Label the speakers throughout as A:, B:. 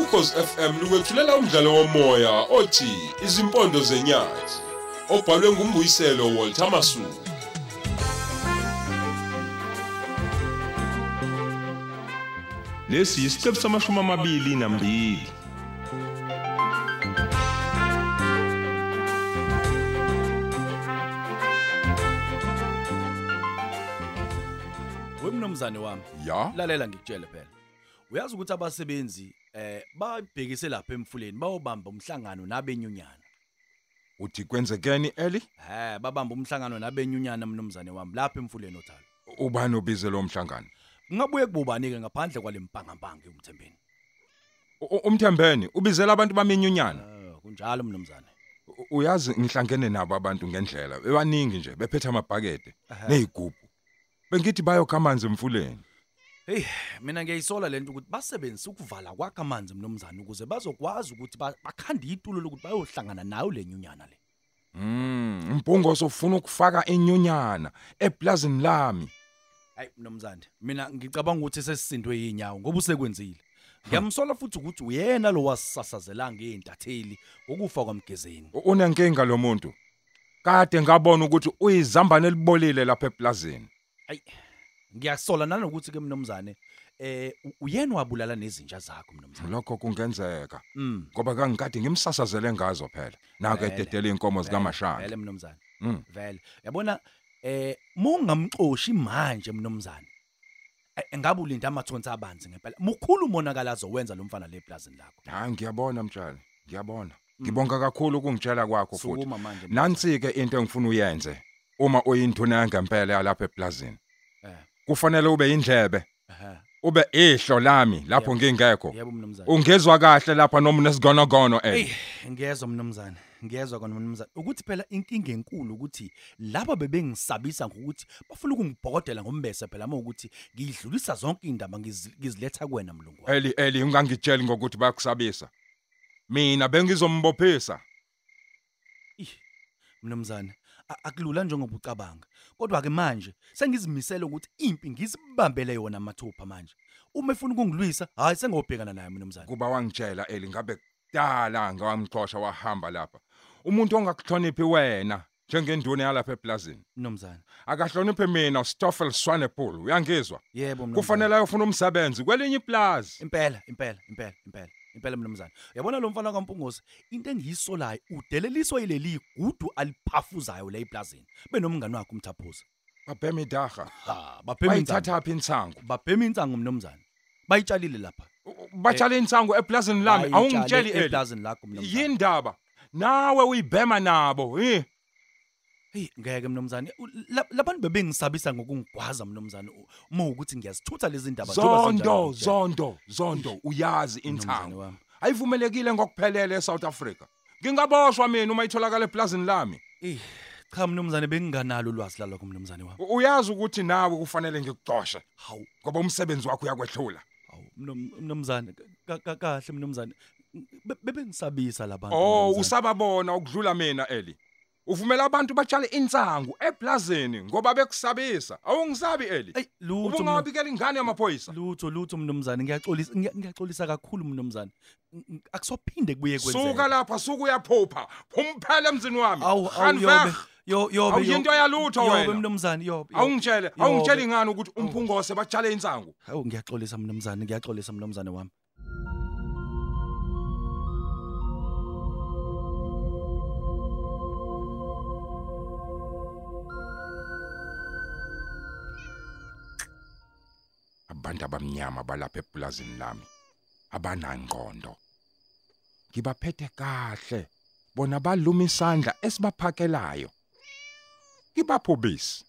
A: Ukhozi FM lukwethulela umdlalo womoya othi Izimpondo zenyathi obhalwe ngumbuyiselo Walter Masuku.
B: Lesi isiqephu samashumi amabili nambili.
C: wemnumzane wami
A: Ya.
C: lalela ngikutshele phela uyazi ukuthi abasebenzi eh babhekise lapha emfuleni bayobamba umhlangano nabenyunyana
A: Uthi kwenzekeni Eli?
C: he babamba umhlangano nabenyunyana mnumzane wami lapha emfuleni othalo
A: Ubani obize lo mhlangano?
C: ngabuye kububani ke ngaphandle kwalempangambanga umthembeni
A: U- Umthembeni ubizela abantu baminyunyana.
C: eh kunjalo mnumzane
A: U- Uyazi ngihlangene nabo abantu ngendlela. Bebaningi nje bephethe amabhakede nezigubu. Bengithi bayokha amanzi emfuleni.
C: hey mina ngiyayisola lento ukuthi basebenzise ukuvala kwakhe amanzi mnumzane ukuze bazokwazi ukuthi ba- bakhande itulo lokuthi bayohlangana nayo lenyunyana le
A: Mm, impungo sofuna ukufaka inyunyana eplazini lami.
C: hayi mnumzane mina ngicabanga ukuthi sesisindwe yinyawo ngoba usekwenzile ngiyamsola futhi ukuthi uyena lo wasisasazela ngeentatheli ngokufa kwamgezeni
A: U- Unenkinga lo muntu. Kade ngabona ukuthi uyizambane libolile lapha eplazini.
C: hayi ngiyasola nanokuthi ke mnumzane eh u- uyena wabulala nezinja zakho mnumzane
A: Lokho kungenzeka
C: mm
A: ngoba kangikade ngimsasazele ngazo phela. Naka
C: Vele.
A: ededele inkomo
C: vele,
A: zikaMashaka.
C: vele mnumzane
A: Mm.
C: vele yabona eh mungamxoshi manje mnumzane eh, ngabe ulinda amathonsi abanzi ngempela mukhulu umonakalazo wenza lo mfana leplazini lakho
A: Hayi ngiyabona mtshali, ngiyabona. Ngibonga kakhulu ukungitshela kwakho futhi.
C: Mm. sukuma manje mnumzane.
A: Nansi ke into engifuna uyenze uma uyinduna ngempela yalapha eplazini.
C: Eh.
A: Kufanele ube indlebe,
C: Ehhe,
A: ube ihlo lami lapho
C: Yebo.
A: ngingekho.
C: yebo mnumzane
A: Ungezwa kahle lapha noma nesigonogono eh.
C: Ey, ngiyezwa mnumzane. Ngiyezwa kona mnumzane. Ukuthi phela inkinga enkulu ukuthi laba bebengisabisa ngokuthi bafuna ukungibhokodela ngombese phela mawukuthi ngidlulisa zonke indaba ngizi- ngiziletha kuwena mlungu. wami.
A: Eli eli ungangitsheli ngokuthi bayakusabisa. Mina bengizombophisa.
C: Ih, Mnumzane, a- akulula njengoba ucabanga. Kodwa ke manje sengizimisela ukuthi impi ngizibambele yona mathupha manje. Uma efuna ukungilwisa, hayi sengobhekana naye mnumzane.
A: Kuba wangitshela eli ngabe kudala ngawamxoshwa wahamba lapha. Umuntu ongakuhloniphi wena njengenduna yalapha eplazini.
C: Mnumzane.
A: Akahloniphe mina Stoffel Swanepoel uyangizwa.
C: Yebo mnumzane.
A: Kufanele ayofuna umsebenzi kwelinye iplazi.
C: impela impela impela impela impela mnumzane uyabona lo mfana kaMpunguzi into engiyisolayo udeleliswa yileli gudu aliphafuzayo la eplazini benomngani wakhe umthaphuza
A: Babhemi daga. Bayithatha
C: ha baphemintsango
A: apha insango.
C: baphemintsango mnomzane bayitshalile lapha
A: Batshala insango eplazini lami.
C: Bayitshale
A: Awungitsheli eli.
C: eplazini lakho mnumzane
A: Yindaba. Nawe uyibhema nabo. Eh.
C: hey ngeke mnumzane U- la- labantu bebengisabisa ngokungigwaza mnumzane U- uma ukuthi ngiyazithutha lezi ndaba njengoba
A: Zondo,
C: zinjalo, ngitshela.
A: zondo, zondo uyazi
C: Mnumzane
A: inthango.
C: wami.
A: Ayivumelekile ngokuphelele eSouth Africa. Ngingaboshwa mina uma itholakala eplazini lami.
C: Eh, cha mnumzane benginganalo ulwazi lalokho mnumzane wami
A: U- Uyazi ukuthi nawe kufanele ngikuxoshe
C: hawu
A: ngoba umsebenzi wakho uyakwehlula.
C: Awu mnom- mnumzane ka- ka- kahle mnumzane Be- bebengisabisa labantu
A: Oh,
C: mnumzane.
A: usababona ukudlula mina Eli. Uvumela abantu batshale insangu eplazini ngoba bekusabisa. Awungisabi Eli.
C: Ey lutho mnu-
A: Ubungabikela ingane yamaphoyisa.
C: lutho lutho mnumzane ngiyaxolisa ngiya- ngiyaxolisa kakhulu mnumzane Ng- ng- akusophinde kuye
A: Suka
C: kwenzeke
A: lapha, suka uyaphupha. Phumphela emzini wami.
C: awu awu yobe
A: Handwerk.
C: yo yobe
A: Awuyinto
C: yobe-
A: yalutho
C: yobe
A: wena.
C: mnumzane yobe yobe.
A: Awungitshele,
C: Yobe.
A: awungitsheli ngani ukuthi umphungose batshale insangu.
C: Hawu ngiyaxolisa mnumzane ngiyaxolisa mnumzane wami
A: Abantu abamnyama balapha eplazini lami. Abanangqondo. Ngibaphethe kahle. Bona baluma isandla esibaphakelayo. Ngibaphobisi.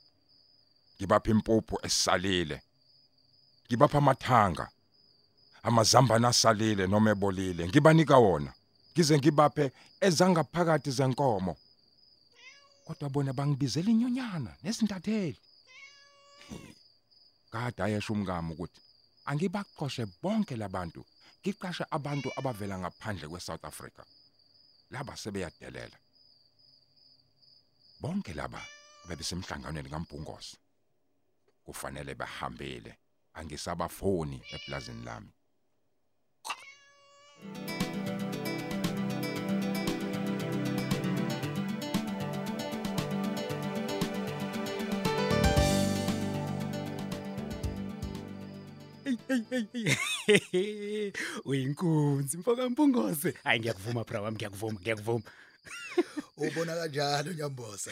A: Ngibapha impupho esisalile. Ngibapha amathanga. Amazambane asalile noma ebolile. Ngibanika wona. Ngize ngibaphe ezangaphakathi zenkomo. Kodwa bona bangibizela inyonyana nezintatheli. kade ayesho umkami ukuthi angibaqoshe bonke labantu ngiqashe abantu abavela ngaphandle kweSouth Africa laba sebeyadelela bonke laba bebesemhlanganweni kaMbungosi kufanele bahambile angisabafoni eplazini lami
D: uyinkunzi mfaka mpungoze hayi ngiyakuvuma bra wami ngiyakuvuma ngiyakuvuma
E: ubona kanjalo nyambosa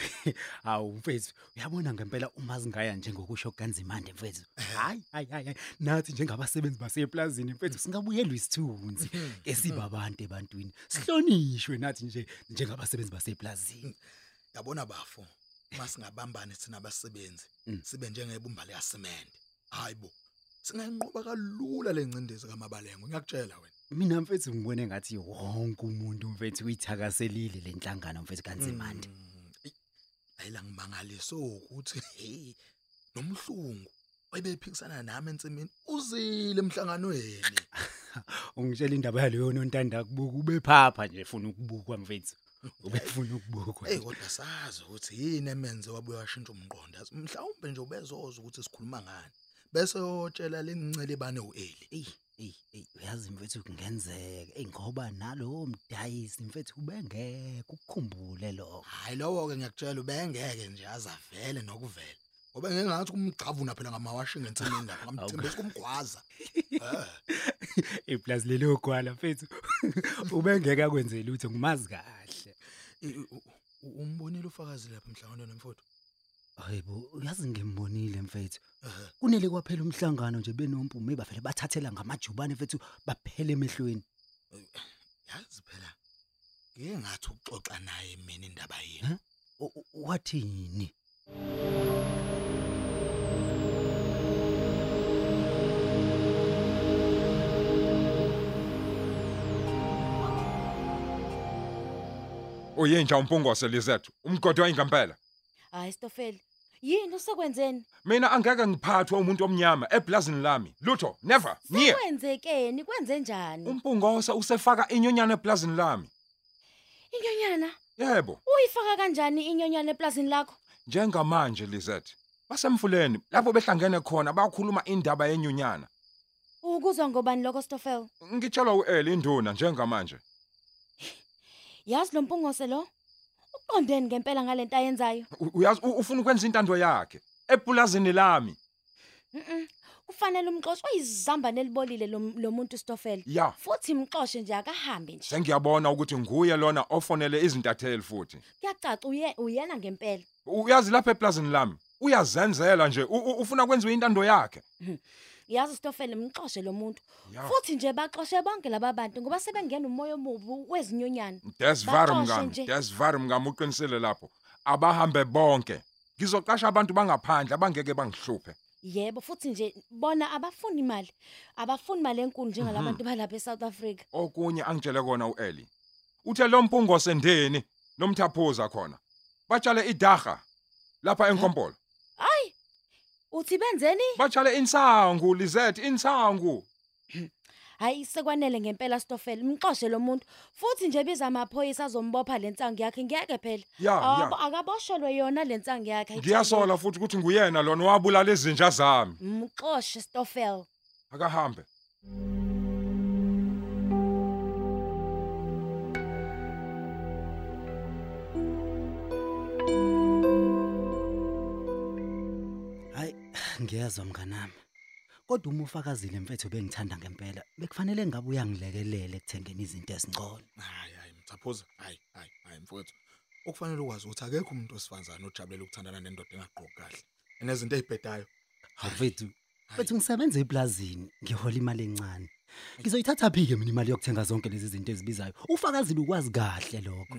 D: hawu mfethu uyabona ngempela uma singaya njengokusho kukanzimande mfethu hayi hayi hayi hayi, nathi njengabasebenzi baseplazini mfethu singabuyelwa isithunzi ke
E: Mm.
D: sibabantu ebantwini sihlonishwe nathi nje njengabasebenzi baseplazini
E: yabona bafo masingabambane sina basebenzi
D: Mm.
E: sibe njengebumba leyasemende hayibo singanqoba kalula lencindezi kamabalengo ngiyakutshela wena
D: mina mfethu ngibone ngathi wonke umuntu mfethu uyithakaselile lenhlangano mfethu kanzimande
E: Mm, eyi, ayila ngimangaliso ukuthi hey nomhlungu obephikisana nami ensimini uzile emhlanganweni
D: ungitshela indaba yaleyo nontanda kubuka ubephapha nje ufuna ukubukwa mfethu ubefuna ukubukwa
E: hey kodwa sazi ukuthi yini emenze wabuye washintsha umqondo Yazi, mhlawumbe nje ubezoza ukuthi sikhuluma ngani bese yotshela lenincele bane uEli
D: eyi eyi eyi uyazi mfethu kungenzeka eyi ngoba nalowo mdayisi mfethu ubengekho ukukhumbule lokho
E: hayi lowo ke ngiyakutshela ubengeke nje azavele nokuvela ngoba ngeke ngathi kumgcavuna phela ngamawashing ensimini lapha ngamthembisa kumgwaza eh
D: iplazi lelo gwala mfethu ubengeke akwenze lutho ngumazi kahle
E: i- u- u- u- umbonile ufakazi lapha mhlawumbe nomfowethu
D: hayibo uyazi ngimbonile mfethu
E: eh
D: kunele kwaphela umhlangano nje benompumi bavele bathathela ngamajubane mfethu baphele emehlweni
E: yazi phela ngeke ngathi uxoxa naye mina indaba yini
D: Huh? U- u- wathini
A: uyintsha umpungose lizethu umgodi wayingempela
F: hayi stofeli yini usekwenzeni
A: mina angeke ngiphathwe umuntu omnyama eblazini lami lutho never nye Um-
F: kwenzekeni kwenze njani
A: umpungose usefaka inyonyana eblazini lami
F: inyonyana
A: yebo
F: uyifaka kanjani inyonyana eplazini lakho
A: njengamanje lizethu basemfuleni lapho behlangene khona bakhuluma indaba yenyunyana
F: ukuzwa ngobani lokho stofeli
A: ngitshelwa uEli induna njengamanje
F: yazi lo mpungose lo uqondeni ngempela ngalento ayenzayo
A: U- uyazi u- ufuna ukwenza intando yakhe epulazini lami
F: Mhm. kufanele umxoshi uyizamba nelibolile lo- lo muntu stofeli
A: ya
F: futhi imxoshe nje akahambe nje
A: sengiyabona ukuthi nguye lona ofonele izintatheli futhi
F: kuyacaca uye uyena ngempela
A: uyazi lapha eplazini lami uyazenzela nje u- u- ufuna kwenziwe intando yakhe
F: yazi stofeli imxoshe lo muntu
A: Ya.
F: futhi nje baxoshe bonke laba bantu ngoba sebengena umoya omubi wezinyonyana
A: desvar
F: Baxoshe
A: mngami
F: nje.
A: desvar mngami uqinisele lapho abahambe bonke ngizoqasha abantu bangaphandle abangeke bangihluphe
F: yebo futhi nje bona abafuni imali abafuni imali enkulu njengalabantu balapha eSouth Africa
A: okunye angitshele kona uEli uthe lo mpungo sendeni nomthaphuza khona batshale idaga lapha enkompolo
F: hayi uthi benzeni
A: batshale insangu lizet insangu
F: hayi sekwanele ngempela stofele umxoshe lo muntu futhi nje biza amaphoyisa azombopha lentsangu yakhe ngiyeke phela
A: Ya, ya.
F: Abo- akaboshelwe yona lentsangu yakhe
A: ngiyasola futhi ukuthi nguyena lona owabulala izinja zami
F: umxoshe stofele
A: akahambe
D: hayi ngiyezwa mnganami kodwa uma ufakazile mfethu bengithanda ngempela bekufanele ngabe uyangilekelele ekuthengeni izinto ezingcono
E: hayi hayi mthaphuza hayi hayi hayi mfowethu okufanele ukwazi ukuthi akekho umuntu osifazana ojabulela ukuthandana nendoda engaqoki kahle enezinto ezibhedayo
D: hawu mfethu
E: Hayi.
D: mfethu ngisebenza eplazini ngihola imali encane ngizoyithatha phi-ke mina imali yokuthenga zonke lezi zinto ezibizayo ufakazile ukwazi kahle lokho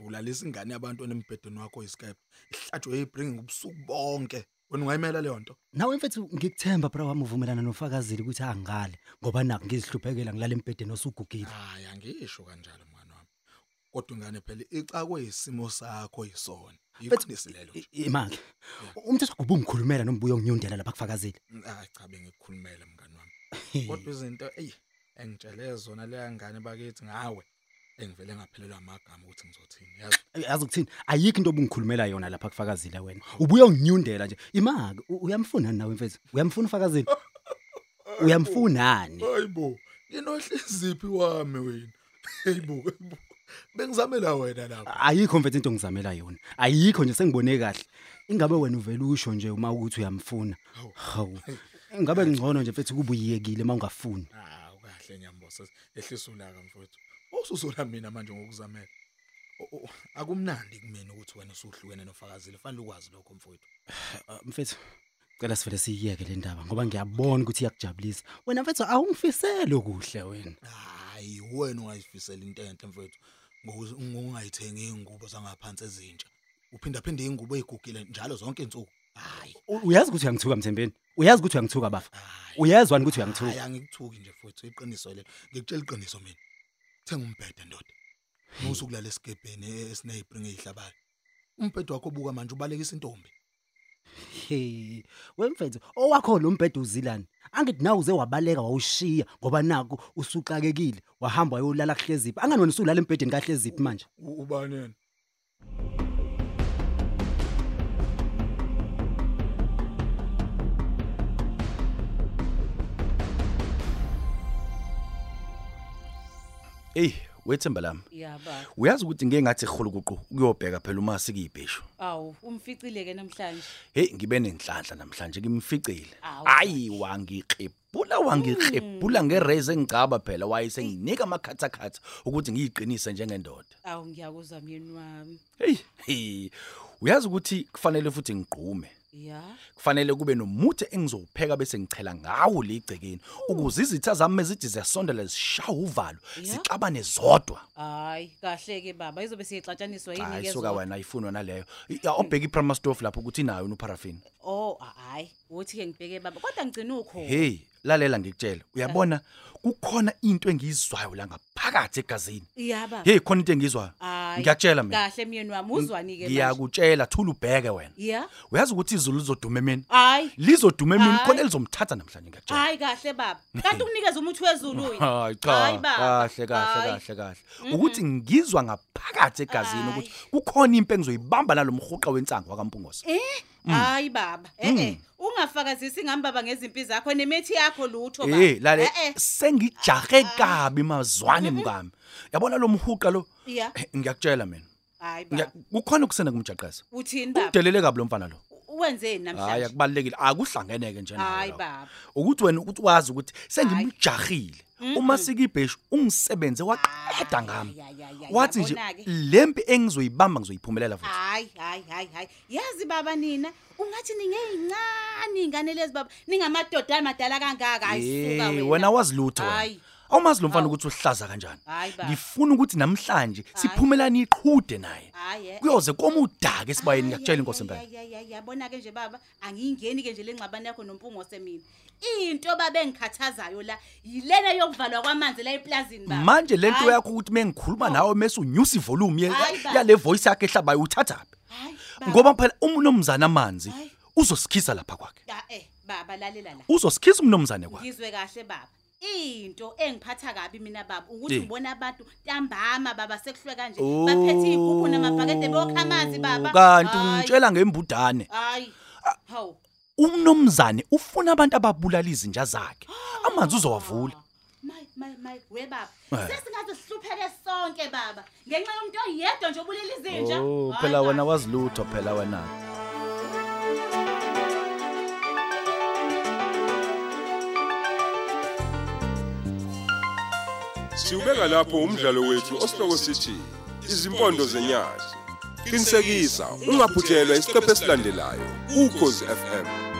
E: Mm, ulalisa ingane yabantu onembhedeni wakho oyisikepha ihlatshwe yibringi ubusuku bonke wena ungayimela leyo nto
D: nawe mfethu ngikuthemba bra wami uvumelana nofakazile ukuthi angale ngoba nakho ngizihluphekela ngilala embhedeni osugugile
E: hayi angisho kanjalo mngani wami kodwa ingane phela icakwe isimo sakho yisona iqinisi lelo nje
D: imake umthetho gube ungikhulumela nombuyo nginyundela lapha kufakazile
E: hayi cha bengikukhulumela mngani wami kodwa izinto eyi engitshele zona leya ngane bakithi ngawe engivele ngaphelelwa amagama ukuthi ngizothini yazi
D: Ey, Eh, yazi ukuthini ayikho into obungikhulumela yona lapha kufakazile wena ubuye unginyundela nje imake u- uyamfuna yini nawe mfethu uyamfuna ufakazile uyamfunani
E: hayibo nginohliziphi wami wena hayibo hayibo. bengizamela wena lapha
D: ayikho mfethu into ngizamela yona ayikho nje sengibone kahle ingabe wena uvela usho nje uma ukuthi uyamfuna hawu ingabe ngcono nje mfethu kuba uyiyekile uma ungafuni
E: hawu kahle Ah, nyambosa ehlisa ulaka mfowethu usuzola mina manje ngokuzamela O- o- akumnandi kumina ukuthi wena usuhlukene nofakazile fanele ukwazi lokho mfowethu
D: Ah, mfethu cela sivele siyiyeke le ndaba ngoba ngiyabona ukuthi iyakujabulisa wena mfethu awungifisele kuhle wena
E: hayi wena ungayifisela into enhle mfowethu ngokuthi ungayithengi ingubo zangaphansi ezintsha uphinda phinde ingubo ezigugile njalo zonke insuku hayi
D: U- uyazi ukuthi uyangithuka mthembeni uyazi ukuthi uyangithuka bafa
E: hayi
D: uyezwa yini ukuthi
E: Hayi
D: uyangithuka
E: angikuthuki nje futhi iqiniso lelo. Ngikutshela iqiniso mina. Thenga umbhede ndoda. Musukulala esigebheni esinezibringa ezihlabayo. Umbhede wakho obuka manje ubalekisa intombi.
D: He, wemfethu owakho lo mbhede uzilani angithi nawe uze wabaleka wawushiya ngoba naku usuxakekile wahamba wayolala kuhleziphi angani wena usulala embhedeni kahleziphi manje
E: Ubani yena?
C: Ey, wethemba lami.
G: yaba
C: Uyazi ukuthi ngeke ngathi ihulukuqu kuyobheka phela uma sikibheshu.
G: awu umficileke namhlanje
C: Hey, ngibe nenhlanhla namhlanje ngimficile.
G: Awu. Hmm.
C: Hayi wangiqebula wangiqebula ngereze engicaba phela wayesenginika amakhatha khatha ukuthi ngiyiqinise njengendoda.
G: awu ngiyakuzwa myeni wami
C: Hey, hey. Uyazi ukuthi kufanele futhi ngigqume.
G: ya
C: kufanele kube nomuthi engizowupheka bese ngichela ngawo legcekeni ukuze izitha zami ezithi ziyasondela zishaya uvalo zixabane zodwa
G: hayi kahle-ke baba izobe siyexatshaniswa yini
C: hayi
G: ke
C: suka
G: zona?
C: wena ayifunwa naleyo obheka iprima stove lapho ukuthi inayo uparafini
G: oh a- hhayi wothi-ke ngibheke baba kodwa ngigcine ukhona
C: hey lalela ngikutshela uyabona kukhona into engiyizwayo la ngaphakathi egazini
G: yaba
C: hey khona into engiyizwayo
G: Hhayi.
C: ngiyakutshela mina
G: kahle myeni wami uzwani-ke manje?
C: ngiyakutshela thula ubheke wena
G: ya
C: uyazi ukuthi izulu lizoduma emini
G: hhayi
C: lizoduma emini
G: Hhayi.
C: khona lizomthatha namhlanje ngiyakutshela
G: hayi kahle baba kanti ukunikeza umuthi wezulu yini?
C: Hayi
G: Hhayi,
C: cha
G: baba.
C: kahle kahle
G: Hhayi.
C: kahle kahle ukuthi ngizwa ngaphakathi egazini
G: Hhayi.
C: ukuthi kukhona imphe engizoyibamba nalomhuqa wensango wakaMpungosi
G: Eh?
C: Mm.
G: Hayi baba. Eh eh. Ungafakazisi ngambaba ngezimpi zakho nemethi yakho lutho baba.
C: Eh lale
G: Eh, eh.
C: sengijahe kabi mazwane mkami yabona lomhuqa lo
G: Ya.
C: Eh, ngiyakutshela mina
G: Hayi
C: Ngiya-
G: baba.
C: kukhona kusena kumjaqeza
G: Uthini baba?
C: udelele kabi lo mfana lo
G: Wenzeni
C: hayi
G: namhlanje?
C: akubalekile akuhlangeneke nje nawe
G: Hayi
C: lokho.
G: baba.
C: ukuthi wena ukuthi wazi ukuthi
G: Hhayi.
C: sengimjahile uma sikibheshu ungisebenze waqeda ngami
G: Ay, ay, ay, ay,
C: wathi nje
G: yabona-ke.
C: lempi engizoyibamba ngizoyiphumelela futhi
G: Hayi hayi hayi hayi. Yazi baba nina, ungathi ningeyincane ingane lezi baba, ningamadoda amadala kangaka ayisuka
C: Eh,
G: wena.
C: wena wazi lutho wena
G: Hayi.
C: awumazi lo mfana
G: Hawu.
C: ukuthi uhlaza kanjani
G: Hayi baba.
C: ngifuna ukuthi namhlanje siphumelane iqhude naye
G: Hayi. eh, eh.
C: kuyoze koma udaka esibayeni ngiyakutshela inkosi
G: impela
C: impela
G: eh, yabona ke nje baba angiyingeni ke nje lengxabano yakho nompungo semina into babengikhathazayo la yilena yokuvalwa kwamanzi la eplazini baba
C: manje lento
G: Hhayi,
C: yakho ukuthi mengikhuluma nawe mase unyusa ivolume
G: Hayi, baba.
C: yale voice yakhe ehlabayo uthathaphi
G: hhayi, baba.
C: ngoba phela umnomzana amanzi
G: Hayi.
C: uzosikhisa lapha kwakhe
G: Ah, eh baba lalela la
C: uzosikhisa umnomzane kwakhe
G: ngizwe kahle baba into engiphatha kabi mina baba ukuthi
C: Eh.
G: ngibona abantu ntambama baba sekuhlwe kanje
C: Oh.
G: baphethe iy'gubhu namabhakede bokha amanzi baba
C: kanti Ah,
G: Hhayi,
C: ungitshela ngembudane
G: hhayi hawu
C: umnomzane ufuna abantu ababulala izinja zakhe
G: Oh.
C: amanzi uzowavula
G: My my my we baba.
C: Eh.
G: Sesingaze sihlupheke sonke baba. Ngenxa yomuntu oyedwa nje obulela izinja.
C: Oh,
G: Hhayi,
C: phela
G: baba.
C: wena wazi lutho phela wena
B: Siubeka lapho umdlalo wethu osihloko sithi izimpondo zenyathi. Qinisekisa ungaphuthelwa isiqephu esilandelayo. Ukhozi FM.